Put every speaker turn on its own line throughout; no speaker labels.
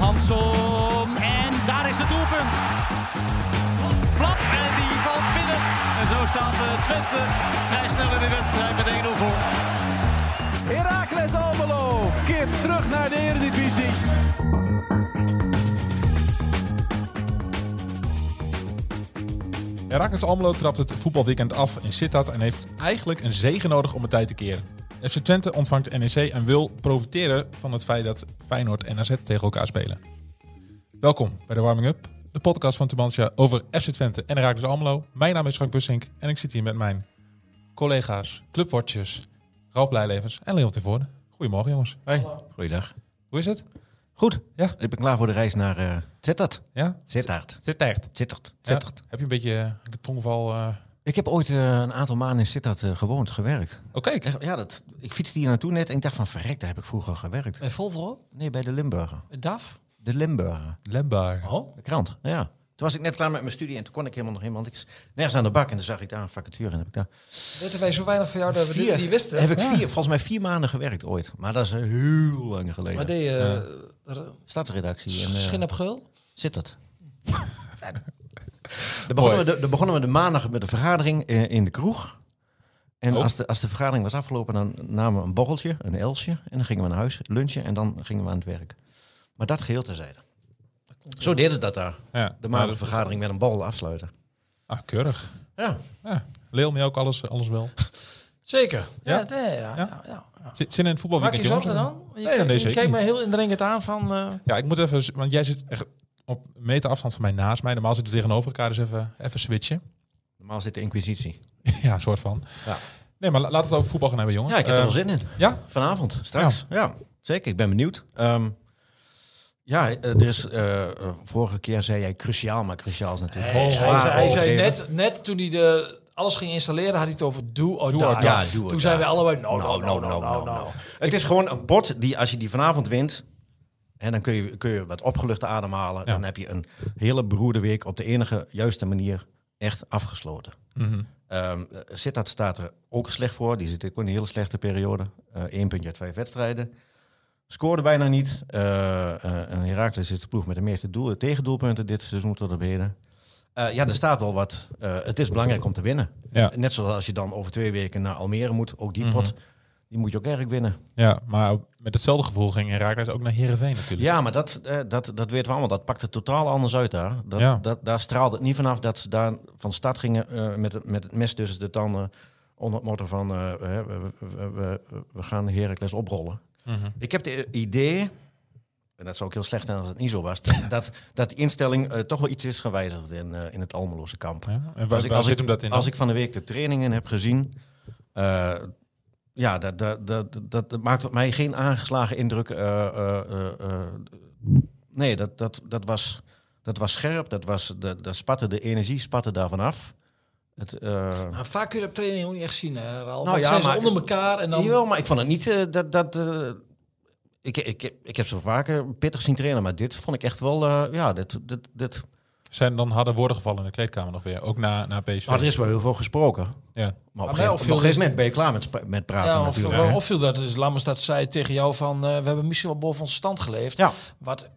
Jansson. En daar is het doelpunt. Flap en die valt binnen. En zo staat eh, Twente vrij snel in de wedstrijd met 1-0 voor.
Heracles Almelo keert terug naar de Eredivisie.
Herakles Almelo trapt het voetbalweekend af in Sittard en heeft eigenlijk een zegen nodig om het tijd te keren. FC Twente ontvangt NEC en wil profiteren van het feit dat Feyenoord en AZ tegen elkaar spelen. Welkom bij de Warming Up, de podcast van Tumantia over FC Twente en Herakles Almelo. Mijn naam is Frank Bussink en ik zit hier met mijn collega's, clubwatchers, Ralf Blijlevens en Leon Tevoorde. Goedemorgen jongens. Hey,
Goeiedag.
hoe is het?
Goed.
Ja.
Ik ben klaar voor de reis naar eh Zittert.
Ja?
Zittert.
Zit echt.
Zittert.
Ja?
Zittert.
Heb je een beetje eh, een tongval? eh?
Ik heb ooit eh, een aantal maanden in Sittard eh, gewoond, gewerkt.
Oh kijk,
Echt, Ja, dat, ik fietste hier naartoe net en ik dacht van verrek, daar heb ik vroeger gewerkt.
Bij Volvo?
Nee, bij de Limburger.
Bij DAF?
De Limburger.
Lembaar.
Oh.
De krant, ja. Toen was ik net klaar met mijn studie en toen kon ik helemaal nog helemaal niks. Nergens aan de bak en toen zag ik daar een vacature en heb ik daar...
Weten wij zo weinig van jou dat we dit niet wisten?
Heb ik vier, volgens mij vier maanden gewerkt ooit. Maar dat is eh, heel lang
Maar eh,
geleden.
deed je
Stadsredactie. en, eh,
Schin op Geul?
Zit dat? Dan begonnen, we de, dan begonnen we de maandag met de vergadering eh, in de kroeg. En
Oh.
als, de, als de vergadering was afgelopen, dan namen we een borreltje, een elsje. En dan gingen we naar huis, lunchen en dan gingen we aan het werk. Maar dat geheel terzijde. Zo deden ze dat daar.
Ja.
De maandagvergadering met een borrel afsluiten.
Ah, keurig.
Ja.
Ja, leel me ook alles, alles wel.
Zeker.
Ja?
Ja, ja, ja.
Ja?
ja, ja.
Zit, zit in
Maak
het
je
voetbalweekend,
zorgen
jongens?
dan? Je,
Nee, nee, nee,
je
zeker
kijkt mij
niet.
heel indringend aan van... eh,
Ja, ik moet even, z- want jij zit echt op een meter afstand van mij naast mij. Normaal zitten we tegenover elkaar, dus even, even switchen.
Normaal zit de inquisitie.
ja, een soort van.
Ja.
Nee, maar la- laten we het over voetbal gaan hebben, jongens.
Ja, ik heb er
Eh,
wel zin in.
Ja?
Vanavond, straks. Ja, zeker. Ik ben benieuwd. Ehm, ja, eh, er is, eh, eh, vorige keer zei jij cruciaal, maar cruciaal is natuurlijk...
hij,
zwaar
hij zei, hij zei
overdreven.
net, net toen hij de, alles ging installeren, had hij het over do or die.
or die.
Ja, do or
toen
die.
zijn we allebei... No,
Nou,
no,
nou, nou, nou, nou. Het is gewoon een bot die als je die vanavond wint... En dan kun je, kun je wat opgeluchte ademhalen.
Ja.
Dan heb je een hele beroerde week op de enige juiste manier echt afgesloten.
Mhm.
Ehm Sittard staat er ook slecht voor. Die zit ook in een hele slechte periode. Eén puntje uit vijf wedstrijden. Scoorde bijna niet. Eh, eh, en Heracles is de ploeg met de meeste doel, tegendoelpunten dit seizoen tot op heden. Eh, ja, er staat wel wat. Eh, het is belangrijk om te winnen.
Ja.
Net zoals als je dan over twee weken naar Almere moet. Ook die
Mhm.
pot, die moet je ook eigenlijk winnen.
ja, maar met hetzelfde gevoel ging Herakles ook naar Heerenveen natuurlijk.
Ja, maar dat, eh, dat, dat weten we allemaal. Dat pakte totaal anders uit daar. Dat,
Ja.
dat, daar straalde het niet vanaf dat ze daar van start gingen eh, met, het- met het mes tussen de tanden. Onder het motto van eh, hè, we, we, we, we gaan Heracles oprollen.
Mhm.
Ik heb het idee, en dat zou ook heel slecht zijn als het niet zo was, dat- dat, dat die instelling eh, toch wel iets is gewijzigd in, eh, in het Almeloze kamp.
Ja? En waar,
ik-
waar zit
ik,
hem dat in?
Als ik van de week de trainingen heb gezien, eh, ja, dat, dat, dat, dat, dat maakt op mij geen aangeslagen indruk. eh, eh, eh, eh. nee, dat, dat, dat, was, dat was scherp, dat, was, dat, dat spatte, de energie spatte daarvan af. Het, eh,
Nou, vaak kun je dat op training ook niet echt zien, hè, Ralf.
Nou
Nou,
ja,
zijn ze
maar-
onder elkaar en dan...
Jawel, maar ik vond het niet eh, dat... dat eh, ik, ik, ik heb zo vaker pittig zien trainen, maar dit vond ik echt wel... eh, ja, dit, dit, dit.
Zijn dan hadden woorden gevallen in de kleedkamer nog weer, ook na, na PSV.
Maar er is wel heel veel gesproken.
ja.
mij
Maar op, een gegeven- op
opviel
een gegeven
dus-
moment ben je klaar met, spra- met praten
ja, of,
natuurlijk.
of,
hè.
of viel dat dus Lammers dat zei tegen jou van eh, we hebben misschien wel boven ons stand geleefd.
Ja.
Wat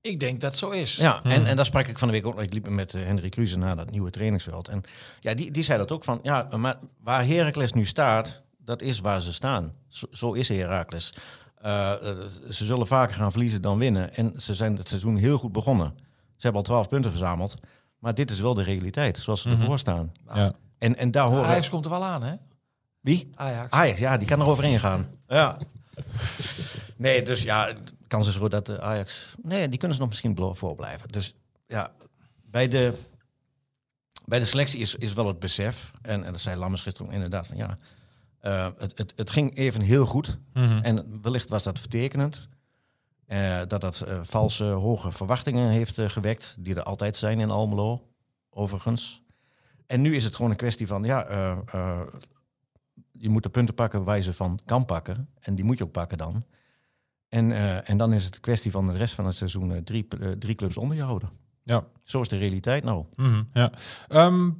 ik denk dat zo is.
Ja, en, en daar sprak ik van de week ook nog. Ik liep met eh, Henry Kruse naar dat nieuwe trainingsveld. En ja, die, die zei dat ook van, ja, maar waar Heracles nu staat, dat is waar ze staan. Zo, zo is Heracles. Eh, eh, ze zullen vaker gaan verliezen dan winnen. En ze zijn het seizoen heel goed begonnen. Ze hebben al twaalf punten verzameld. Maar dit is wel de realiteit, zoals
Mhm.
ze ervoor staan.
Ja.
En, en daar horen...
Ajax komt er wel aan, hè?
Wie?
Ajax.
Ajax, ja, die kan er overheen gaan. Ja. Nee, dus ja, de kans is groot dat de Ajax... Nee, die kunnen ze nog misschien blo- voor blijven. Dus ja, bij de, bij de selectie is, is wel het besef... en, en dat zei Lammers gisteren ook inderdaad, van ja... eh, het, het, het ging even heel goed.
Mhm.
En wellicht was dat vertekenend. eh, dat dat eh, valse hoge verwachtingen heeft eh, gewekt, die er altijd zijn in Almelo, overigens. En nu is het gewoon een kwestie van, ja, eh, eh, je moet de punten pakken waar je ze van kan pakken. En die moet je ook pakken dan. En, eh, en dan is het een kwestie van de rest van het seizoen eh, drie, eh, drie clubs onder je houden.
Ja.
Zo is de realiteit nou.
Mhm, ja. Ehm,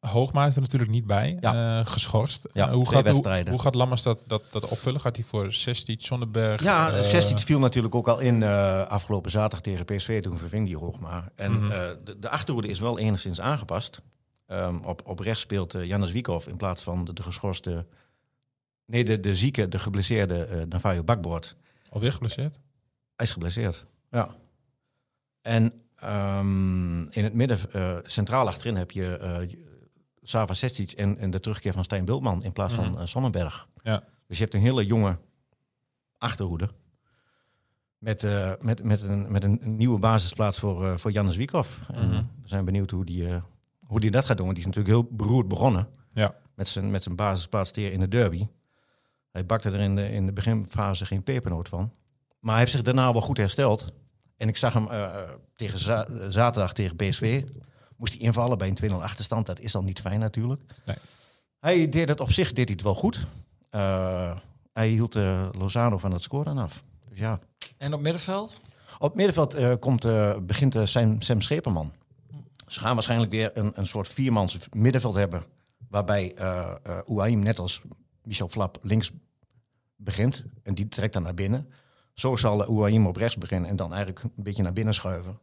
Hoogma is er natuurlijk niet bij,
Ja.
eh, geschorst.
Ja,
Eh, hoe,
twee
gaat, hoe,
wedstrijden.
hoe gaat Lammers dat, dat, dat opvullen? Gaat hij voor 16 Sonnenberg?
Ja,
eh,
16 viel natuurlijk ook al in eh, afgelopen zaterdag tegen PSV. Toen verving die Hoogma. En
Mhm.
eh, de, de achterhoede is wel enigszins aangepast. Ehm, op, op rechts speelt eh, Jannes Wiekhoff in plaats van de, de geschorste... Nee, de, de zieke, de geblesseerde eh Navajo Bakboord.
Alweer geblesseerd?
Hij is geblesseerd. Ja. En ehm, in het midden, eh, centraal achterin, heb je eh Sava Sestic en, en de terugkeer van Stijn Bultman in plaats van eh, Sonnenberg.
Mhm. Ja.
Dus je hebt een hele jonge achterhoede. Met, eh, met, met, een, met een nieuwe basisplaats voor, eh voor Jannes Wiekhoff. En
Mhm.
We zijn benieuwd hoe die, eh, hoe die dat gaat doen. Want die is natuurlijk heel beroerd begonnen.
Ja.
Met, zijn, met zijn basisplaats tegen in de derby. Hij bakte er in de, in de beginfase geen pepernoot van. Maar hij heeft zich daarna wel goed hersteld. En ik zag hem eh, eh, tegen za- zaterdag tegen PSV. Moest hij invallen bij een 2-0 achterstand. Dat is dan niet fijn natuurlijk.
Nee.
Hij deed het op zich deed hij het wel goed. Eh, hij hield eh, Lozano van het scoren af. Dus ja.
En op middenveld?
Op het middenveld eh, komt, eh, begint eh, Sam, Sam Scheperman. Ze gaan waarschijnlijk weer een, een soort viermans middenveld hebben. Waarbij eh eh Ouahim, net als Michel Flap, links begint. En die trekt dan naar binnen. Zo zal eh, Ouahim op rechts beginnen en dan eigenlijk een beetje naar binnen schuiven.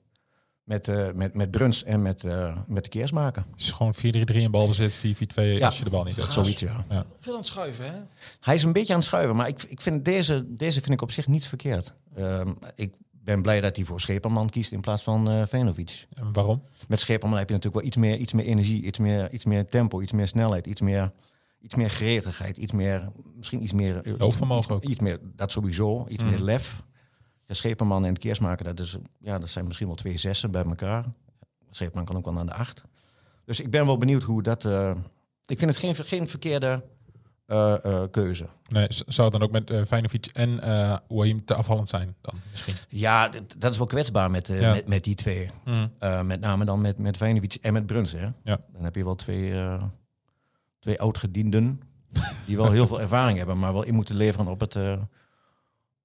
Met, eh, met, met Bruns en met, eh, met de Keersmaker.
Het is gewoon 4-3-3 in balbezit, 4-4-2
Ja,
als je de bal niet hebt.
Zoiets, ja.
Veel aan het schuiven, hè?
Hij is een beetje aan het schuiven, maar ik, ik vind deze, deze vind ik op zich niet verkeerd. Ehm, ik ben blij dat hij voor Scheperman kiest in plaats van eh Venovic.
En waarom?
Met Scheperman heb je natuurlijk wel iets meer, iets meer energie, iets meer, iets meer tempo, iets meer snelheid, iets meer, iets meer gretigheid, iets meer, misschien iets meer... eh,
Loopvermogen
iets,
ook.
Iets meer, dat sowieso, iets meer lef. Ja, Scheperman en Keersmaker, dat, is, ja, dat zijn misschien wel twee zessen bij elkaar. Scheperman kan ook wel naar de acht. Dus ik ben wel benieuwd hoe dat... eh, ik vind het geen, geen verkeerde eh, eh, keuze.
Nee, z- zou het dan ook met eh Feyenoord en eh Ouahim te afvallend zijn dan misschien?
Ja, dat, dat is wel kwetsbaar met, eh,
Ja.
met, met die twee. Eh, met name dan met, met Vejnovic en met Bruns. Hè?
Ja.
Dan heb je wel twee, eh twee oudgedienden die wel heel veel ervaring hebben, maar wel in moeten leveren op het, eh,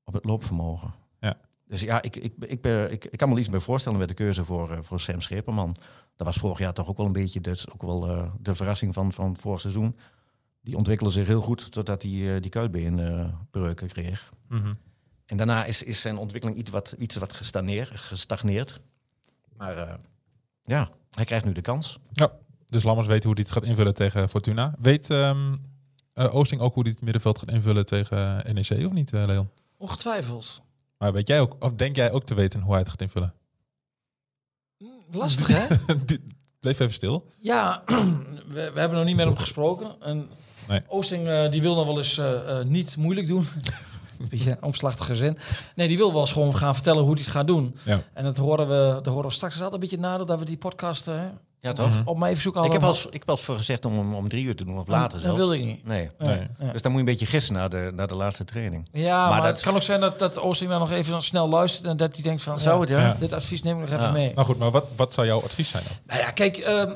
op het loopvermogen.
Ja.
Dus ja, ik, ik, ik, ben- ik, ik kan me er iets bij voorstellen met de keuze voor, eh, voor Sam Scheperman. Dat was vorig jaar toch ook wel een beetje dus ook wel, eh, de verrassing van, van vorig seizoen. Die ontwikkelde zich heel goed totdat hij eh, die kuitbeenbreuken kreeg.
Mhm.
En daarna is, is zijn ontwikkeling iets wat, iets wat gestaneer- gestagneerd. Maar eh, ja, hij krijgt nu de kans.
Dus Lammers weet hoe hij het gaat invullen tegen Fortuna. Weet ehm, eh, Oosting ook hoe hij het middenveld gaat invullen tegen NEC of niet, eh, Leon?
Ongetwijfeld.
Maar weet jij ook, of denk jij ook te weten hoe hij het gaat invullen?
Hm, Lastig, hè?
Die- Bleef even stil.
Ja, we, we hebben nog niet met hem gesproken. En
Nee.
Oosting eh, die wil nog wel eens eh, eh, niet moeilijk doen. Beetje omslachtige zin. Nee, die wil wel eens gewoon gaan vertellen hoe hij het gaat doen.
Ja.
En dat horen we, dat horen we straks. Het is altijd een beetje nadeel dat we die podcast eh,
Ja, toch?
op mijn verzoek
Hm. Ik
hadden.
heb al eens- ik heb al eens voor gezegd om hem om drie uur te doen of later
Oh, Dat
zelfs.
wilde ik niet.
Nee.
Nee,
Nee.
nee.
Dus dan moet je een beetje gissen naar de, naar de laatste training.
Ja, maar,
dat-
het kan ook zijn dat, dat Oosting dan nog even snel luistert en dat hij denkt van...
Zou
ja,
het, ja?
Ja.
Dit advies neem ik nog even
Ja.
mee.
Nou goed, maar wat, wat zou jouw advies zijn dan?
Nou ja, kijk, ehm,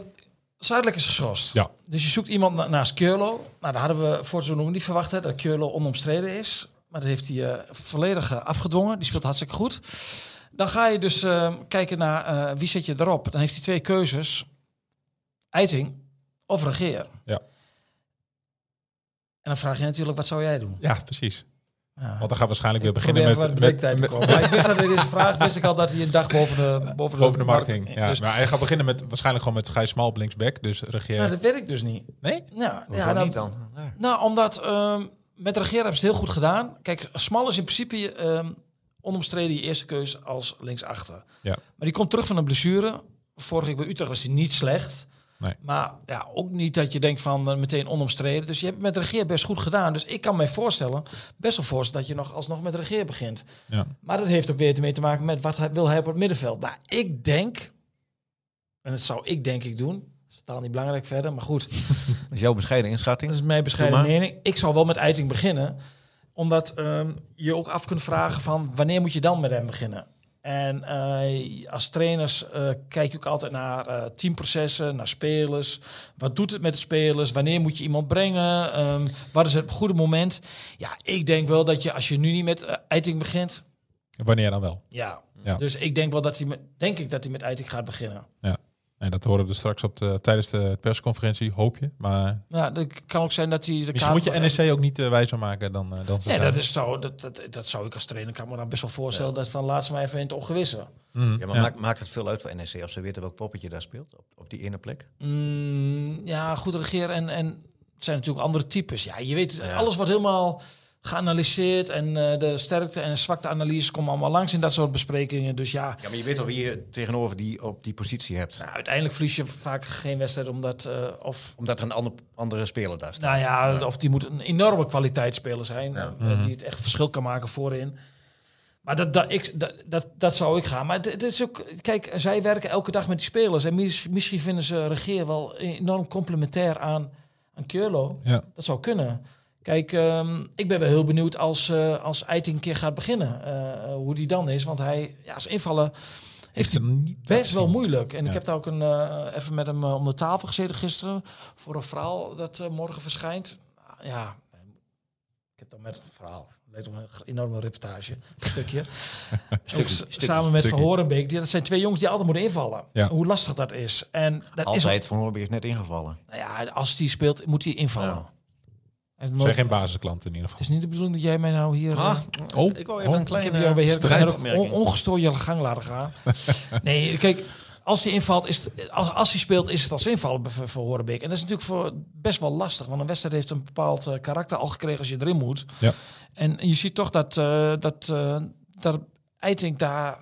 Zuidelijk is geschorst.
Ja.
Dus je zoekt iemand na- naast Keurlo. Nou, daar hadden we voor het seizoen ook niet verwacht, hè, dat Keurlo onomstreden is. Maar dat heeft hij eh, volledig eh, afgedwongen. Die speelt hartstikke goed. Dan ga je dus ehm, kijken naar eh, wie zet je erop. Dan heeft hij twee keuzes. Eiting of regeer.
Ja.
En dan vraag je natuurlijk, wat zou jij doen?
Ja, precies.
Ja.
Want dan gaan we waarschijnlijk
Ik
weer beginnen
probeer even wat
met,
breektijd
met-
te
met-
komen. Maar ik wist dat in deze vraag wist ik al dat hij een dag boven de, boven de,
boven de marketing. Ja,
dus,
maar hij gaat beginnen met waarschijnlijk gewoon met Gijs Smal op linksback. Dus regeer.
Nou, dat werkt dus niet.
nee?
Ja,
Hoezo
ja, dan-
niet dan? Ja.
Nou, omdat ehm, met de regeren hebben ze het heel goed gedaan. Kijk, Smal is in principe ehm onomstreden je eerste keus als linksachter.
Ja.
Maar die komt terug van een blessure. Vorige week bij Utrecht was hij niet slecht.
Nee.
Maar ja, ook niet dat je denkt van eh, meteen onomstreden. Dus je hebt het met de regeer best goed gedaan. Dus ik kan mij voorstellen, best wel voorstellen dat je nog alsnog met de regeer begint.
Ja.
Maar dat heeft ook weer mee te maken met wat hij, wil hij op het middenveld. Nou, ik denk, en dat zou ik denk ik doen. Dat is totaal niet belangrijk verder, maar goed.
Dat is jouw bescheiden
Dat
inschatting.
is mijn bescheiden
Doe maar.
mening. Ik zou wel met Eiting beginnen. Omdat ehm, je ook af kunt vragen van wanneer moet je dan met hem beginnen? En eh, als trainers eh, kijk je ook altijd naar eh, teamprocessen, naar spelers. Wat doet het met de spelers? Wanneer moet je iemand brengen? Ehm, wat is het goede moment? Ja, ik denk wel dat je als je nu niet met eh, Eiting begint...
Wanneer dan wel?
Ja.
Ja.
dus ik denk wel dat hij met, denk ik dat hij met Eiting gaat beginnen.
Ja. En dat horen we dus straks op de, tijdens de persconferentie, hoop je. Maar
Ja, dat kan ook zijn dat hij de
misschien moet je NEC ook niet eh, wijzer maken dan, eh, dan ze
Ja,
zijn.
dat, is zo, dat, dat, dat zou ik als trainer kan me dan best wel voorstellen. Dat van laat ze maar even in het ongewissen.
Mhm,
Ja, maar
ja.
Maakt, maakt het veel uit
E
voor NEC of ze weten welk poppetje daar speelt? Op, op die ene plek?
Mm, ja, goed regeren en, en het zijn natuurlijk andere types. Ja, je weet, alles wordt helemaal geanalyseerd en eh, de sterkte en zwakte analyses komen allemaal langs in dat soort besprekingen. Dus ja,
Ja, maar je weet toch wie je tegenover die op die positie hebt.
nou, uiteindelijk verlies je vaak geen wedstrijd omdat eh, of
Omdat er een ander, andere speler daar staat.
nou ja, of die moet een enorme kwaliteitsspeler zijn eh, die het echt verschil kan maken voorin. Maar dat, dat, ik, dat, dat, dat zou ik gaan. Maar het, het is ook, kijk, zij werken elke dag met die spelers. En mis- misschien vinden ze regeer wel enorm complementair aan, aan Keurlo.
Ja.
Dat zou kunnen. Kijk, ehm, ik ben wel heel benieuwd als, eh als Eiting een keer gaat beginnen. eh, hoe die dan is. Want hij, ja, als invallen heeft hij
hem niet
best
gezien.
wel moeilijk. En
Ja.
ik heb daar ook een, eh, even met hem eh, om de tafel gezeten gisteren. Voor een verhaal dat eh, morgen verschijnt. Nou, Ja, ik heb dan met een verhaal. Leed om een enorme reportage. Een stukje. Ook s- Samen met
Stukje.
Van Horenbeek. Die, dat zijn twee jongens die altijd moeten invallen.
Ja.
Hoe lastig dat is. En dat is
Altijd van Hoornbeek is net ingevallen.
nou ja, als die speelt, moet hij invallen.
Ja.
Hij heeft
Zijn
nooit-
geen basisklant in ieder
Het is
geval.
niet de bedoeling dat jij mij nou hier... eh,
Oh,
Ah. ik wil even
oh,
een
ik heb
kleine
jou bij Heracles net ook
opmerking.
on- ongestoord je gang laten gaan. nee, kijk, als die invalt, is het- als, als hij speelt, is het als invallen bij- voor, voor Horenbeek. En dat is natuurlijk voor, best wel lastig, want een wedstrijd heeft een bepaald eh, karakter al gekregen als je erin moet.
Ja.
En, je ziet toch dat, eh dat, eh dat Eiting daar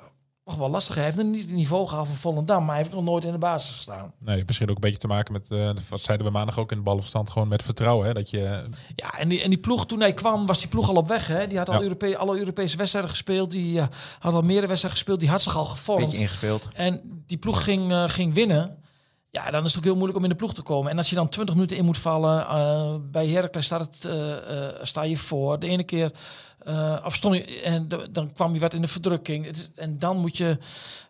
nog wel lastig heeft. Hij heeft nog niet het niveau gehaald van Volendam, maar hij heeft nog nooit in de basis gestaan.
nee, misschien ook een beetje te maken met, eh wat zeiden we maandag ook in de balverstand, gewoon met vertrouwen. Hè, dat je
Ja, en die, en die ploeg, toen hij kwam, was die ploeg al op weg. Hè? Die had al
Ja.
Europe- alle Europese wedstrijden gespeeld. Die eh, had al meerdere wedstrijden gespeeld. Die had zich al gevormd.
Beetje ingespeeld.
En die ploeg ging, eh, ging winnen. Ja, dan is het natuurlijk heel moeilijk om in de ploeg te komen. En als je dan 20 minuten in moet vallen, eh, bij Heracles staat het, eh, eh, sta je voor. De ene keer eh of stond je, en de- dan kwam je wat in de verdrukking. Het is- en dan moet je,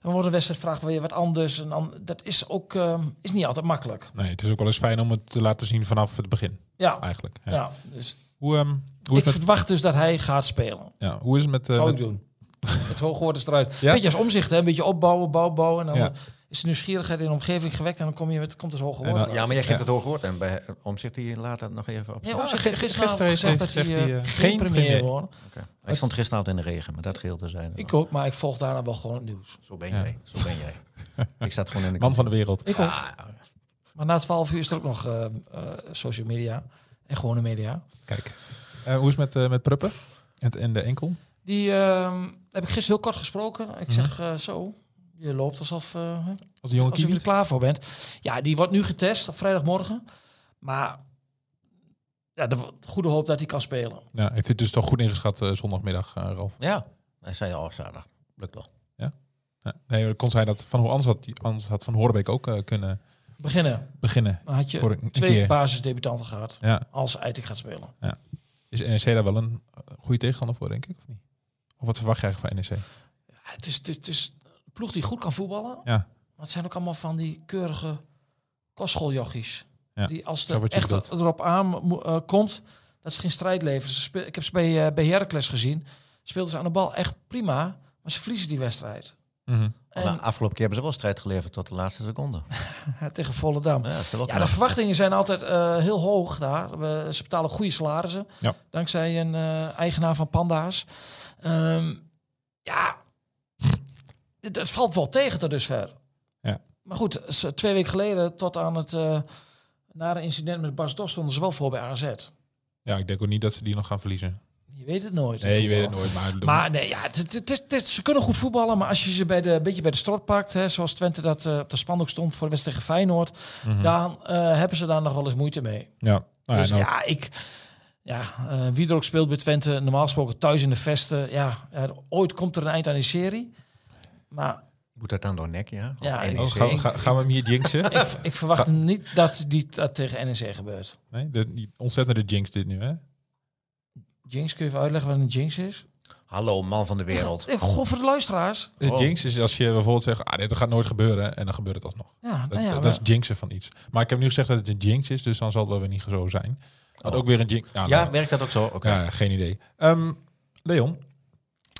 dan wordt een wedstrijdvraag weer wat anders. En dan, dat is ook eh, is niet altijd makkelijk.
Nee, het is ook wel eens fijn om het te laten zien vanaf het begin,
Ja,
eigenlijk. Ah, Ja.
ja. dus
Hoe, ehm, hoe,
ik
is het met,
verwacht dus dat hij gaat spelen.
ja, hoe is het met... eh,
Zou
met-
ik doen. Het hoogwoord is eruit.
Ja?
Beetje als omzicht, hè? Een beetje opbouwen, bouw, bouwen. En dan
Ja.
is de nieuwsgierigheid in de omgeving gewekt. En dan kom je met, komt het hoge
En
woord.
dan-
eruit.
Ja, maar jij geeft
Ja.
het hoog gehoord. En bij eh, Omzicht die later nog even op.
Ja,
stap.
Omtzigt Nou, heeft
gisteren
gisteravond gezegd dat
heeft-
hij
zegt hij,
eh,
eh,
geen
geen
premier
premier.
wordt.
Oké. Ik stond gisteravond in de regen, maar dat geheel te zijn.
Ik ook, maar ik volg daarna wel gewoon het nieuws.
Zo ben
Ja.
jij. Zo ben jij. ik zat gewoon in de
Man van de wereld.
Ik ook. Ah, Maar na 12 uur is er ook nog eh, eh, social media en gewone media.
Kijk. Eh, hoe is het met, eh, met Pruppen en, en de enkel?
Die ehm, heb ik gisteren heel kort gesproken. Ik zeg eh, zo, je loopt alsof... eh, hè?
Als een jonge
als je er
kievit?
klaar voor bent. Ja, die wordt nu getest op vrijdagmorgen. Maar ja, de goede hoop dat hij kan spelen.
Ja, heeft hij het dus toch goed ingeschat eh, zondagmiddag, eh, Ralf?
Ja, hij zei al zaterdag. Lukt wel.
Ja. Nee, dan kon zijn dat Van Ho- anders had, die- anders had Van Horenbeek ook eh, kunnen
Beginnen.
beginnen.
Dan had je
Voor een- een
twee
keer.
basisdebutanten gehad.
Ja.
Als Eiting gaat spelen.
Is NEC daar wel een eh, goede tegenstander voor, denk ik? Of niet? Of wat verwacht je eigenlijk van E NEC?
Ja, Ah, het, is, het, is, het is een ploeg die goed kan voetballen.
Ja.
Maar het zijn ook allemaal van die keurige kostschooljochies.
Ja,
Die als
zo
er
wordt je
echt
bedoeld.
erop aan mo- eh, komt, dat ze geen strijd leveren. Ze speel- ik heb ze bij, eh, bij Heracles gezien. Speelden ze aan de bal echt prima. Maar ze verliezen die wedstrijd.
Mhm.
En
Maar afgelopen keer hebben ze wel strijd geleverd tot de laatste seconde.
eh, tegen Volendam.
Ja, dat is toch wel
Ja,
knap.
de verwachtingen zijn altijd eh, heel hoog daar. We, ze betalen goede salarissen.
Ja.
Dankzij een eh, eigenaar van Panda's. Ehm, ja, het, het valt wel tegen tot dusver.
Ja.
Maar goed, ze- twee weken geleden tot aan het eh nare incident met Bas Dos stonden ze wel voor bij AZ.
Ja, ik denk ook niet dat ze die nog gaan verliezen.
Je weet het nooit.
Nee, je weet het nooit. Maar,
Maar nee, ja, het, het- het is, het is- ze kunnen goed voetballen, maar als je ze bij de, een beetje bij de strot pakt, hè, zoals Twente dat eh, op de spandoek stond voor de wedstrijd tegen Feyenoord,
Mhm.
dan eh, hebben ze daar nog wel eens moeite mee.
Ja. Nou,
dus
ja, nou,
ja, ik... Ja, eh, wie er ook speelt bij Twente, normaal gesproken thuis in de vesten. Ja, ja, ooit komt er een eind aan die serie. Maar
Moet dat dan door nek, ja? Of
Ja,
NEC?
oh, gaan, we- ga- gaan we hem hier jinxen?
ik, ik verwacht niet dat die, dat tegen NEC gebeurt.
Nee, de, die ontzettende jinx dit nu, hè?
Jinx, kun je even uitleggen wat een jinx is?
Hallo, man van de wereld.
Ik goh, voor de luisteraars.
De jinx is als je bijvoorbeeld zegt, ah, dit gaat nooit gebeuren. En dan gebeurt het alsnog.
Ja,
Dat,
nou ja,
dat,
maar-
is jinxen van iets. Maar ik heb nu gezegd dat het een jinx is, dus dan zal het wel weer niet zo zijn. Oh. Had ook weer een jinx. nou,
Ja,
nou,
werkt dat ook zo? Oké.
ja, geen idee. Ehm, Leon,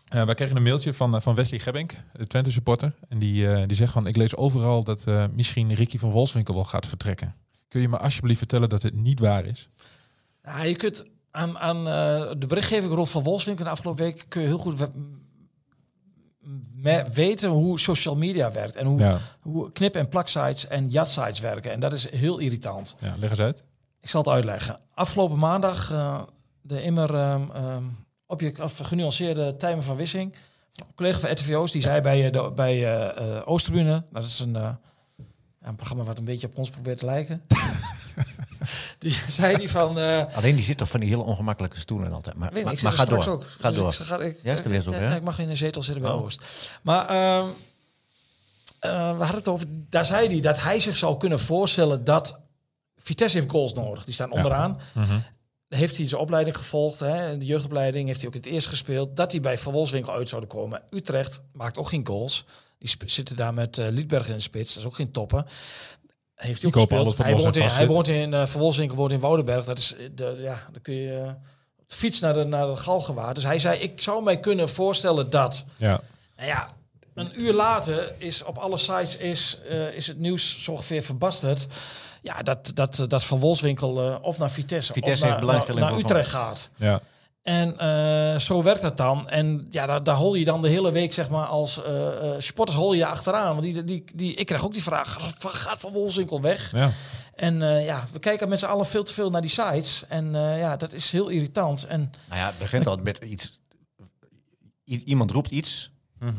Eh, wij kregen een mailtje van, eh, van Wesley Gebbink, de Twente supporter. En die, eh, die zegt van, ik lees overal dat eh, misschien Ricky van Wolfswinkel wel gaat vertrekken. Kun je me alsjeblieft vertellen dat het niet waar is?
Ja, je kunt aan, aan eh, de berichtgeving Rolf van Wolfswinkel de afgelopen week kun je heel goed we- me- weten hoe social media werkt en hoe,
Ja,
hoe knip- en plaksites en jatsites werken. En dat is heel irritant.
ja leg eens uit.
Ik zal het uitleggen. Afgelopen maandag eh, de immer ehm, ehm, object, of genuanceerde Tijmen van Wissing, een collega van RTVO's, die zei bij, eh, de, bij eh, eh, Oosttribune, nou, dat is een, eh, ja, een programma wat een beetje op ons probeert te lijken. die zei die van... eh,
Alleen die zit toch van die hele ongemakkelijke stoelen altijd. Maar,
weet niet,
maar,
ik
maar
zit
ga
er
door.
straks ook.
Ga
Dus
door.
Ik, ga- ik-
Ja, is de
ik-
weerzoek,
ik-
hè?
ik mag in een zetel zitten bij
Oh.
Oost. Maar ehm, eh, we hadden het over... Daar zei hij dat hij zich zou kunnen voorstellen dat... Vitesse heeft goals nodig. Die staan onderaan.
Mhm.
Heeft hij zijn opleiding gevolgd. Hè? De jeugdopleiding heeft hij ook in het eerst gespeeld. Dat hij bij Van Wolfswinkel uit zouden komen. Utrecht maakt ook geen goals. Die sp- zitten daar met eh, Liedberg in de spits. Dat is ook geen toppen. Heeft hij ook
kopen
gespeeld.
alles wat
hij,
los en
woont in,
vast
hij
zit.
woont in eh Van Wolfswinkel woont in Woudenberg. Dat is, eh, de, ja, dan kun je eh, op de fiets naar de, naar de Galgenwaard. Dus hij zei, ik zou mij kunnen voorstellen dat...
Ja.
Nou ja, een uur later is op alle sites is, eh, is het nieuws zo ongeveer verbasterd. Ja, dat, dat, eh, dat Van Wolfswinkel eh, of naar Vitesse,
Vitesse
of
heeft
naar,
belangstelling
naar, naar
voor
Utrecht gaat.
Ja.
En eh, zo werkt dat dan. En ja, daar, daar hol je dan de hele week, zeg maar, als eh eh, supporters hol je achteraan. Want die, die, die, ik krijg ook die vraag, "Gaat- gaat Van Wolfswinkel weg?
ja.
En eh, ja, we kijken met z'n allen veel te veel naar die sites. En eh, ja, dat is heel irritant. En
Nou ja, het begint al met iets. I- iemand roept iets.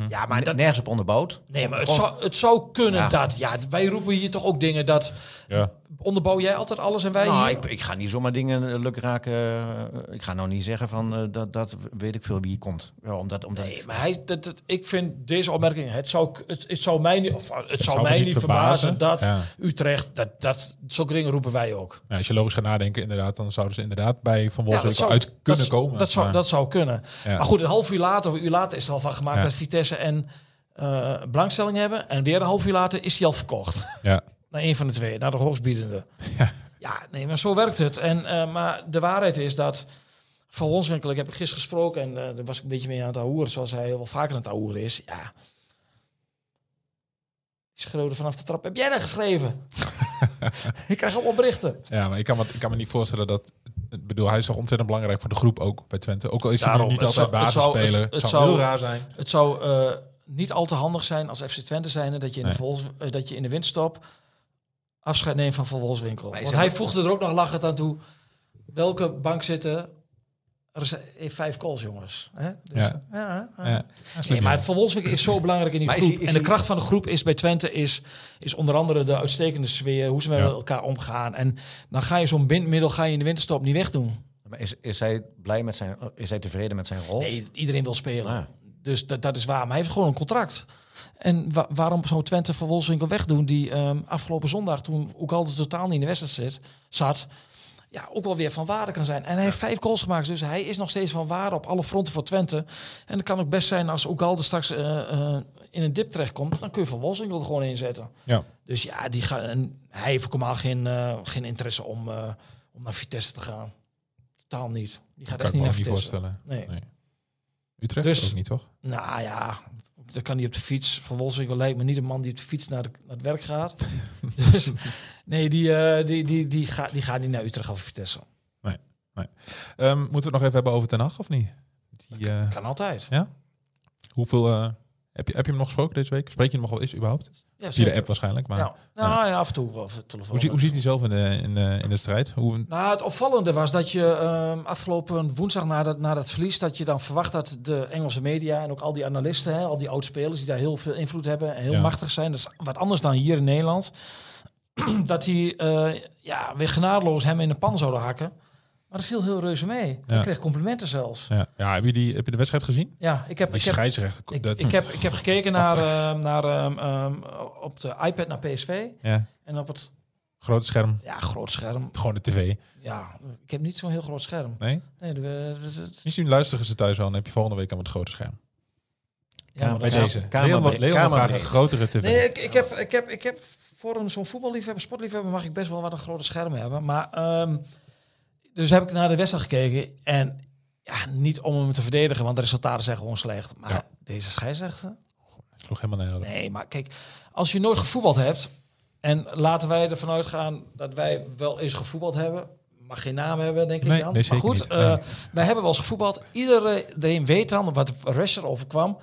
ja,
Maar nergens op onderbouwd.
Nee, maar het
Gewoon-
zou, het zou kunnen
Ja.
dat. Ja, wij roepen hier toch ook dingen dat.
ja.
Onderbouw jij altijd alles en wij.
Nou,
hier?
ik, ik ga niet zomaar dingen eh, luk raken. eh, Ik ga nou niet zeggen van eh, dat, dat weet ik veel wie hier komt. Ja, omdat, omdat
Nee, maar hij, dat, dat- ik vind deze opmerking. Het zou, het, het zou mij niet, of, het zou
me
mij
niet
niet verbazen,
verbazen.
dat
Ja.
Utrecht. Dat, dat, zulke dingen roepen wij ook.
Ja, Nou, als je logisch gaat nadenken, inderdaad, dan zouden ze inderdaad bij Van
Ja, dat
Wolfswinkel
zou-
uit
dat-
kunnen komen.
Dat zou,
maar-
dat zou kunnen.
Ja.
Maar goed, een half uur later of een uur later is er al van gemaakt
Ja.
dat Vitesse en eh, belangstelling hebben. En weer een half uur later is hij al verkocht.
ja.
Naar een van de twee, naar de hoogstbiedende.
Ja.
Ja, nee, maar zo werkt het. En, eh, maar de waarheid is dat van ons winkel, ik heb gisteren gesproken en eh, daar was ik een beetje mee aan het ahoeren, zoals hij heel wel vaker aan het ahoeren is. Ja. Die schreeuwde vanaf de trap, heb jij dat geschreven? ik krijg allemaal berichten.
Ja, maar ik kan, me, ik kan me niet voorstellen dat... Ik bedoel, hij is toch ontzettend belangrijk voor de groep ook bij Twente. Ook al is hij nu
Daarom,
niet
het
altijd
zou- het zou-
basisspeler.
het- het
zou heel
zou-
raar zijn.
Het zou eh, niet al te handig zijn als FC Twente zijn dat je in,
Nee.
de, Vols, eh, dat je in de windstop afscheid neemt van Van Wolfswinkel.
Maar is
Want
het-
hij voegde er ook nog lachend aan toe. Welke bank zitten? Er is- heeft vijf calls, jongens. Hè? Dus,
Ja.
ja. Ja,
Ja. Ja, slim,
Nee, maar
ja.
Van Wolfswinkel is zo belangrijk in die
Maar is
groep.
hij- is
en de
hij-
kracht van de groep is bij Twente is, is onder andere de uitstekende sfeer, hoe ze met
Ja.
elkaar omgaan. En dan ga je zo'n bindmiddel ga je in de winterstop niet wegdoen.
Maar is, is hij blij met zijn. eh, Is hij tevreden met zijn rol?
Nee, iedereen wil spelen.
Ah.
Ja.
Dus dat, dat is waar. Maar hij heeft gewoon een contract. En wa- waarom zou Twente van Wolfswinkel wegdoen... die ehm, afgelopen zondag, toen ook al totaal niet in de wedstrijd zit, zat... ja, ook wel weer van waarde kan zijn. En hij heeft vijf goals gemaakt. Dus hij is nog steeds van waarde op alle fronten voor Twente. En het kan ook best zijn als Oegalde straks eh, eh, in een dip terechtkomt... dan kun je Van Wolfswinkel er gewoon inzetten.
Ja.
Dus ja, die ga, en hij heeft ook helemaal geen, eh, geen interesse om, eh, om naar Vitesse te gaan. Totaal niet. Die gaat
kan
echt niet
ik me
naar
ook niet
Vitesse.
voorstellen.
Nee.
Utrecht
Dus-
ook niet, toch?
Nou ja, dat kan hij op de fiets. Van Wolfswinkel lijkt me niet een man die op de fiets naar, de- naar het werk gaat. dus nee, die, eh, die, die, die, gaat die gaat niet naar Utrecht of Vitesse.
Ehm, moeten we het nog even hebben over Ten Hag, of niet? Die, eh,
Kan altijd.
hoeveel... eh, heb, je, heb je hem nog gesproken deze week? Spreek je hem nog wel eens überhaupt?
Ja,
Via de
zeker.
app waarschijnlijk, maar...
Ja. Nou ja, af en toe wel voor de telefoon.
Hoe, zie- hoe ziet hij zelf in de, in de, in de strijd? Hoe,
Nou, het opvallende was dat je ehm, afgelopen woensdag na dat, na dat verlies, dat je dan verwacht dat de Engelse media en ook al die analisten, hè, al die oud-spelers die daar heel veel invloed hebben en heel
Ja.
machtig zijn, dat is wat anders dan hier in Nederland, dat die eh, ja, weer genadeloos hem in de pan zouden hakken. Maar dat viel heel reuze mee.
Ja.
Ik kreeg complimenten zelfs.
ja, ja, heb, je die, heb je de wedstrijd gezien?
Ja, ik heb,
Die
ik heb,
scheidsrechter...
ik,
dat, Oh.
ik heb, ik heb gekeken naar, ehm, naar, ehm, ehm, op de iPad naar PSV
ja,
en op het
grote scherm,
ja, groot scherm.
gewoon de tv.
Ja, ik heb niet zo'n heel groot scherm.
Nee?
Nee, de- de- de-
Misschien luisteren ze thuis al en heb je volgende week aan het grote scherm.
Ja, maar
Bij
dat-
deze.
kamer-
Leon wil-
kamer-
Leon wil graag een
kamerbreed.
grotere tv.
Nee, ik, ik, heb, ik, heb, ik heb voor een zo'n voetballiefhebber, sportliefhebber, mag ik best wel wat een grote scherm hebben. Maar ehm, dus heb ik naar de wedstrijd gekeken en Ja, niet om hem te verdedigen, want de resultaten zijn gewoon slecht. Maar
Ja.
deze scheidsrechter?
Sloeg helemaal naar
Nee, maar kijk, als je nooit gevoetbald hebt... en laten wij ervan uitgaan dat wij wel eens gevoetbald hebben... mag geen naam hebben, denk ik
Nee,
dan. maar
nee, zeker
goed,
niet.
eh,
Nee.
wij hebben wel eens gevoetbald. Iedereen weet dan, wat Rusher overkwam...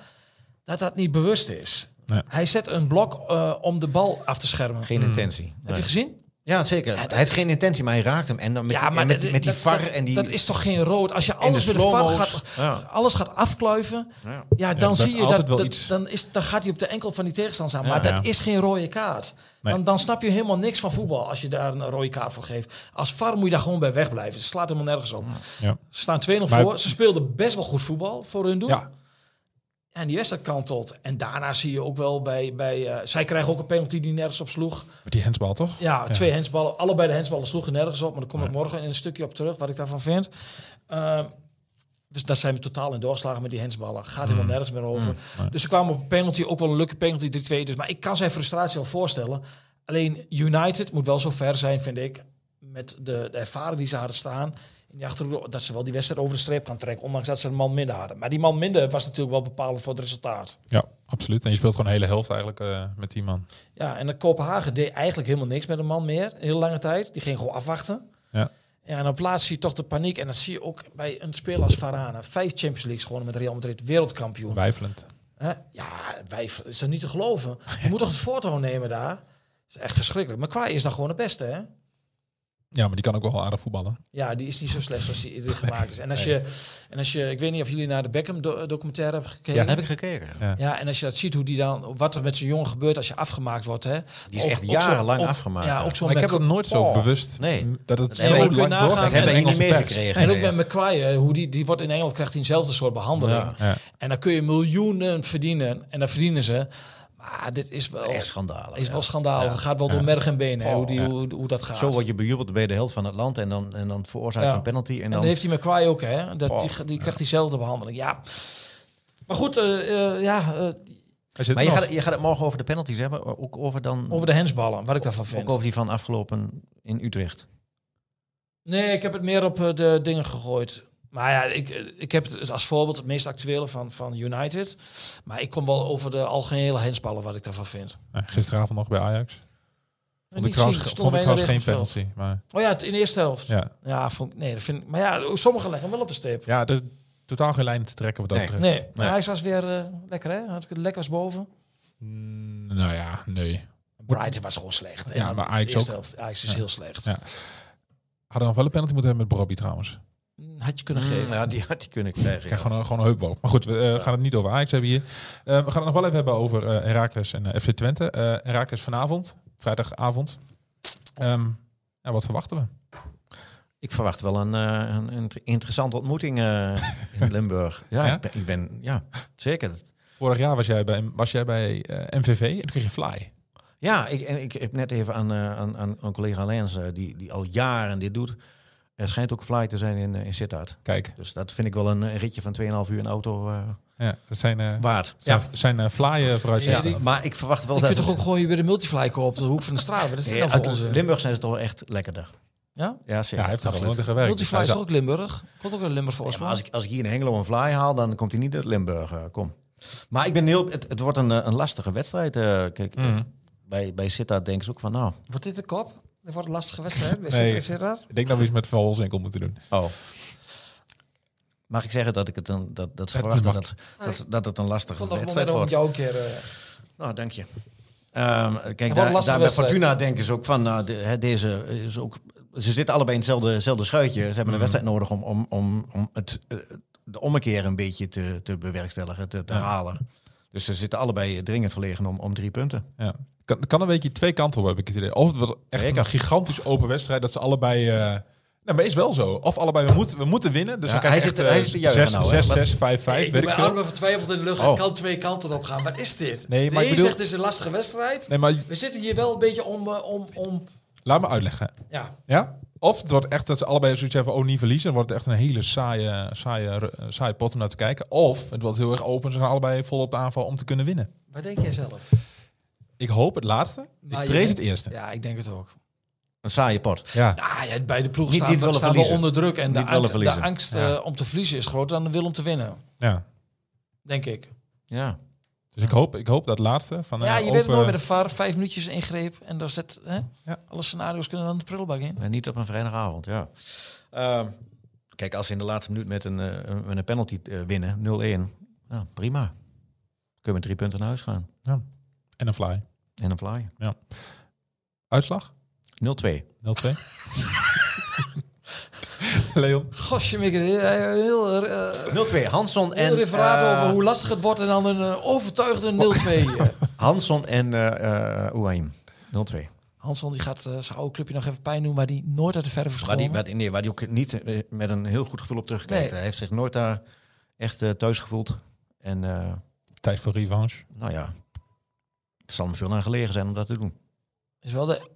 dat dat niet bewust is.
Nee.
Hij zet een blok eh, om de bal af te schermen.
Geen intentie.
Heb je gezien?
Ja, zeker. hij heeft geen intentie, maar hij raakt hem. En dan met, en met,
dat-
met die
dat-
var
dat-
en die...
Dat is toch geen rood? Als je alles
de
met de var
slow-mo's.
gaat,
Ja.
alles gaat afkluiven, ja,
Ja.
dan
dat is
zie je
altijd
dat,
wel
dat-
iets.
dan, is, dan gaat hij op de enkel van die tegenstander aan.
Ja.
maar dat
Ja.
is geen rode kaart.
Nee.
Dan, dan snap je helemaal niks van voetbal als je daar een rode kaart voor geeft. Als var moet je daar gewoon bij wegblijven. Het slaat helemaal nergens op.
Ja.
Ze staan 2-0
Maar-
voor. Ze speelden best wel goed voetbal voor hun doel.
Ja.
En die wedstrijd kantelt. En daarna zie je ook wel bij... bij eh, zij krijgen ook een penalty die nergens op sloeg.
Met die handsbal, toch?
Ja,
Ja.
twee hensballen. Allebei de hensballen sloegen nergens op. Maar daar kom ik morgen in een stukje op terug, wat ik daarvan vind. Ehm, dus daar zijn we totaal in doorgeslagen met die hensballen. Gaat helemaal nergens meer over. Dus ze kwamen op een penalty, ook wel een leuke penalty, 3-2. Dus, maar ik kan zijn frustratie wel voorstellen. Alleen United moet wel zo ver zijn, vind ik, met de, de ervaring die ze hadden staan. In die achterhoede, dat ze wel die wedstrijd over de streep kan trekken. Ondanks dat ze een man minder hadden. Maar die man minder was natuurlijk wel bepalend voor het resultaat.
Ja, absoluut. En je speelt gewoon de hele helft eigenlijk eh, met die man.
Ja, en de Kopenhagen deed eigenlijk helemaal niks met een man meer. Een heel lange tijd. Die ging gewoon afwachten.
Ja.
Ja, en op plaats zie je toch de paniek. En dat zie je ook bij een speler als Varane. Vijf Champions Leagues gewonnen met Real Madrid. Wereldkampioen.
Wijfelend.
Hè? Ja, wij is dat niet te geloven. Je moet toch het voortouw nemen daar? Dat is echt verschrikkelijk. Maar Kwaai is dan gewoon de beste, hè?
Ja, maar die kan ook wel aardig voetballen.
Ja, die is niet zo slecht als die, die gemaakt is. En als, je, en als je... Ik weet niet of jullie naar de Beckham-documentaire hebben gekeken.
Heb ik gekeken.
Ja, en als je dat ziet, hoe die dan, wat er met zo'n jongen gebeurt als je afgemaakt wordt. Hè?
Die is echt jarenlang afgemaakt,
Ja,
hè.
ook zo'n
Maar ik heb
Mac-
dat nooit zo
Oh,
bewust.
nee.
m, Dat het
Dat
zo
hebben we-
lang
kun je nagaan.
doorgaat
Dat
in de
hebben we
Engelse
niet
pers.
meegekregen.
En ook
Nee.
bij McCrye, hoe die, die wordt in Engeland krijgt hij eenzelfde soort behandeling.
Ja.
En dan kun je miljoenen verdienen. En dat verdienen ze. Maar dit is wel,
Echt schandalen.
Oh. is wel
ja. Oh,
schandaal. Het gaat wel door merg en benen hè, hoe, die,
ja.
hoe, hoe dat gaat.
Zo word je bejubeld bij de helft van het land en dan, en dan veroorzaakt
Ja.
je een penalty. En
En
dan,
dan heeft hij McCry ook, hè? Dat, die
Oh,
die krijgt diezelfde behandeling. Ja. Maar goed, eh, eh, ja, eh,
Hij zit
maar
er
je
nog.
gaat, je gaat het morgen over de penalties hebben. eh, Ook over, dan,
over de hensballen, wat ik daarvan
ook
vind.
over die van afgelopen in Utrecht.
Nee, ik heb het meer op eh, de dingen gegooid. Maar ja, ik, eh, ik heb het als voorbeeld het meest actuele van, van United. Maar ik kom wel over de algehele hensballen wat ik daarvan vind.
Nee, Gisteravond nog bij Ajax. Vond
Die
ik trouwens,
zie ik, stonden
vond ik
wij
trouwens
in
geen
het veld.
penalty. Maar
Oh ja, het- in de eerste helft. Ja,
ja,
vond, ik- nee, dat vind ik, maar ja, sommigen leggen hem wel op de steep.
ja er is totaal geen lijn te trekken wat dat
Nee.
betreft.
Nee, maar hij was weer eh, lekker hè? Had ik het lekker was boven.
Mm, nou ja, nee.
Brighton was gewoon slecht. En
Ja,
dan
maar
de
Ajax
eerste
ook.
helft, Ajax is
Ja.
heel slecht.
Ja. Hadden we wel een penalty moeten hebben met Brobby trouwens.
Had je kunnen geven.
Mm, Ja, die had die kunnen krijgen.
Ik krijg gewoon, een- gewoon een heupboog. Maar goed, we eh, gaan het niet over Ajax hebben hier. Eh, we gaan het nog wel even hebben over eh Heracles en eh, FC Twente. Eh Heracles vanavond, vrijdagavond. Ehm, ja, wat verwachten we?
Ik verwacht wel een, eh, een, een interessante ontmoeting eh, in Limburg. Ja,
Ja?
Ik, ben, ik ben- ja, zeker.
Vorig jaar was jij bij, was jij bij eh, MVV en toen kreeg je Fly.
Ja, ik, en ik heb net even aan, eh, aan, aan een collega Lens, eh, die, die al jaren dit doet. Er schijnt ook fly te zijn in, eh, in Sittard.
Kijk,
Dus dat vind ik wel een eh, ritje van 2,5 uur in auto eh,
ja, dat zijn, eh
waard.
zijn, zijn eh, Fly eh, vooruitzichten.
Ja, die-
Maar ik verwacht wel
je
dat...
kunt toch
het-
ook gewoon weer de multifly kopen op de hoek van de straat. Wat is dit
Ja,
nou voor
uit
onze?
Limburg zijn ze toch wel echt lekkerder.
Ja?
Ja, zeker.
Ja, hij heeft er
Absoluut.
gewoon aan gewerkt.
Multifly
Dus
is
hij
toch ook Limburg? Komt ook een Limburg voor
Ja, maar als ik, als ik hier in Hengelo een fly haal, dan komt hij niet uit Limburg. eh, kom. Maar ik ben heel... Het, het wordt een, eh, een lastige wedstrijd. eh, kijk,
Mm.
eh, bij, bij Sittard denken ze ook van, nou...
Wordt dit de kop? Dat wordt een lastige wedstrijd. Is
Nee.
dit- is dit dat?
Ik denk dat we iets met Van Holzinkel moeten doen.
Oh. Mag ik zeggen dat ik het dan dat, dat ze
Dat
verwachten
mag.
dat, dat, dat het een
Ik
lastige
vond dat
wedstrijd
moment om
wordt?
jou een keer... eh,
Nou, dank je. Ehm, kijk,
een lastige
daar, daar bij
wedstrijd.
Fortuna denken ze ook van, nou, de- hè, deze is ook. Ze zitten allebei in hetzelfde, hetzelfde schuitje. Ze hebben een wedstrijd nodig om, om, om, om het, eh, de ommekeer een beetje te, te bewerkstelligen, te, te halen. Dus ze zitten allebei dringend verlegen om, om drie punten.
Ja. Kan, kan een weekje twee kanten op, heb ik het idee. Of het was echt
Zeker.
een gigantisch open wedstrijd dat ze allebei... eh nou, maar is wel zo. Of allebei, we moeten, we moeten winnen. Dus
Ja,
dan krijg
hij
je
zit- hij zit te juichen nou, hè. Wat-
6, 6, 5, 5,
ik heb
weet ik
mijn
veel.
armen vertwijfeld in de lucht.
Oh.
Ik kan twee kanten op gaan. Wat is dit?
Nee, maar ik
je
bedoel-
zegt dit is een lastige wedstrijd.
Nee, maar
We zitten hier wel een beetje om... eh, om, om
laat me uitleggen.
ja.
Ja? Of het wordt echt dat ze allebei zoiets hebben van, oh, niet verliezen. Dan wordt het echt een hele saaie, saaie, eh, saaie pot om naar te kijken. Of het wordt heel erg open. Ze gaan allebei vol op de aanval om te kunnen winnen.
Wat denk jij zelf?
Ik hoop het laatste.
Maar
ik
je
vrees
denkt-
het eerste.
Ja, ik denk het ook.
Een saaie pot.
Ja.
Nou ja, bij de ploeg
Niet-
staan,
niet willen
staan we
verliezen.
onder druk. En de,
Niet willen
angst- de
verliezen.
angst
Ja.
eh, om te verliezen is groter dan de wil om te winnen.
ja.
Denk ik.
Ja.
Dus ik hoop, ik hoop dat laatste. Van,
ja, je
eh,
weet het
open-
nooit bij de VAR. Vijf minuutjes ingreep en daar zit... Hè,
Ja.
Alle scenario's kunnen dan de prullenbak in.
En niet op een vrijdagavond, ja. Ehm, kijk, als ze in de laatste minuut met een, eh, met een penalty eh, winnen, 0-1, ja, prima. Kun je met drie punten naar huis gaan.
En een fly.
En dan fly.
Uitslag?
0-2.
0-2. Leon.
Gosje, Mikke, heel, heel, eh,
0-2. Hanson
heel
en...
referaat
eh,
over hoe lastig het wordt en dan een eh, overtuigde
Oh.
0-2. eh.
Hanson en eh eh Oehaim. 0-2.
Hansson die gaat eh, zijn oude clubje nog even pijn doen, maar die nooit uit de verf is
Waar die,
gekomen.
waar die- nee, waar die ook niet eh, met een heel goed gevoel op terugkijkt.
Nee.
Hij heeft zich nooit daar echt eh, thuis gevoeld. En eh,
Tijd voor revanche.
nou ja, het zal hem veel naar gelegen zijn om dat te doen.
Is wel de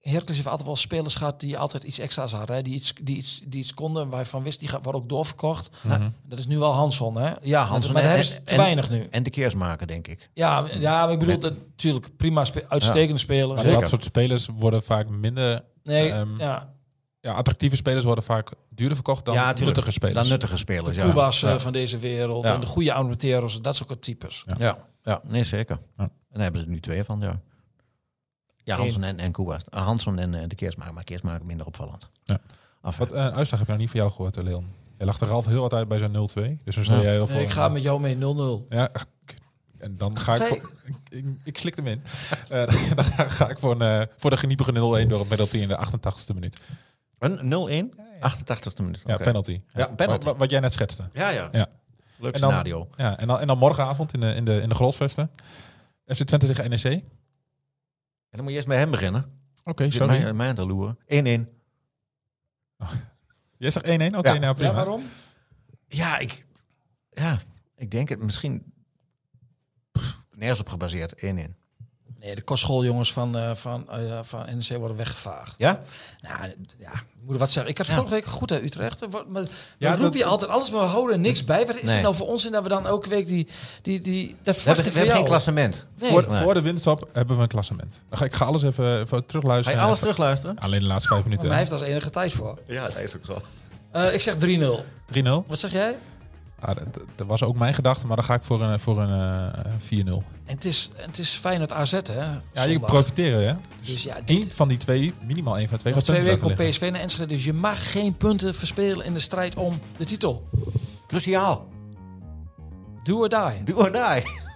Hercules heeft altijd wel spelers gehad die altijd iets extra's hadden. Hè? Die, iets, die, iets, die iets konden waarvan wist, die gaat- worden ook doorverkocht.
Mhm.
Dat is nu wel Hansson, hè?
Ja,
Hansson,
Hanson
maar daar
en,
hebben ze
en,
te weinig nu.
en de keersmaker, denk ik.
Ja, maar- ja maar ik bedoel, natuurlijk, prima, spe- uitstekende spelers.
Maar
speler.
Zeker.
dat soort spelers worden vaak minder...
Nee,
Ehm,
ja,
Ja, attractieve spelers worden vaak duurder verkocht dan
Ja, tuurlijk.
nuttige spelers.
Dan nuttige spelers, ja.
Cuba's eh,
Ja.
van deze wereld
Ja.
en de goede Armenteros, dat soort types.
Ja, ja nee, zeker.
Ja.
En daar hebben ze er nu twee van, ja. Ja, Hanson en, en Cuba's. Ah, Hanson en eh, de keersmaker, maar keersmaker minder opvallend.
Ja.
Af,
Wat eh, uitslag heb je nog niet van jou gehoord, hè, Leon? Jij lag er al heel wat uit bij zo'n 0-2. Dus dan stel
Ja.
jij heel veel...
Nee, ik ga met jou mee 0-0.
Ja, k- en dan ga ik...
Zij-
Voor, ik, ik, ik slik hem in. Eh, dan ga ik voor, een, eh, voor de geniepige 0-1 door een penalty in de 88ste minuut.
Een 0-1, 88ste minuut.
Ja,
oké.
penalty.
Ja, penalty.
Wat, wat jij net schetste.
Ja, ja.
Ja.
Leuk
En dan-
scenario.
Ja, en dan, en dan morgenavond in de, in de, in de Grolsvesten. FC Twente tegen E NEC. Oké,
En dan moet je eerst met hem beginnen. Zit
sorry.
mij, mij aan te loeren. 1-1.
Jij zegt 1-1? Oké,
Ja.
nou prima.
Ja, waarom?
Ja, ik, ja, ik denk het misschien pff, nergens op gebaseerd. 1-1.
Nee, de kostschooljongens van, eh, van, eh, van NEC worden weggevaagd.
Ja?
Nou, ja, ik moet wat zeggen. Ik had
Ja.
vorige week goed uit Utrecht. Wat- Maar,
Ja,
ja, roep
dat-
je altijd alles, maar we houden er niks bij. Wat is
Nee.
het nou voor ons in dat we dan elke week die... die, die dat
We hebben,
verwacht ik
we
van
hebben
jou.
geen klassement.
Nee.
Voor,
Nee.
voor de winststop hebben we een klassement. Dan ga ik ga alles even, even
Ga
terugluisteren.
je
en
alles
even-
terugluisteren?
Alleen de laatste vijf
Maar
minuten.
hij heeft als enige tijd voor.
Ja, dat is ook zo.
Eh, ik zeg 3-0.
3-0.
Wat zeg jij?
Ja, dat, dat- dat was ook mijn gedachte, maar dan ga ik voor een, voor een eh, 4-0.
En het is, en het is fijn dat AZ, hè?
Ja, je
zondag.
profiteren, hè?
Dus ja, dit-
Eén van die twee, minimaal één van de twee,
nog
gaat
twee
punten
weken op
laten liggen.
PSV naar Enschede. Dus je mag geen punten verspelen in de strijd om de titel.
Cruciaal.
Do or die.
Doe or die.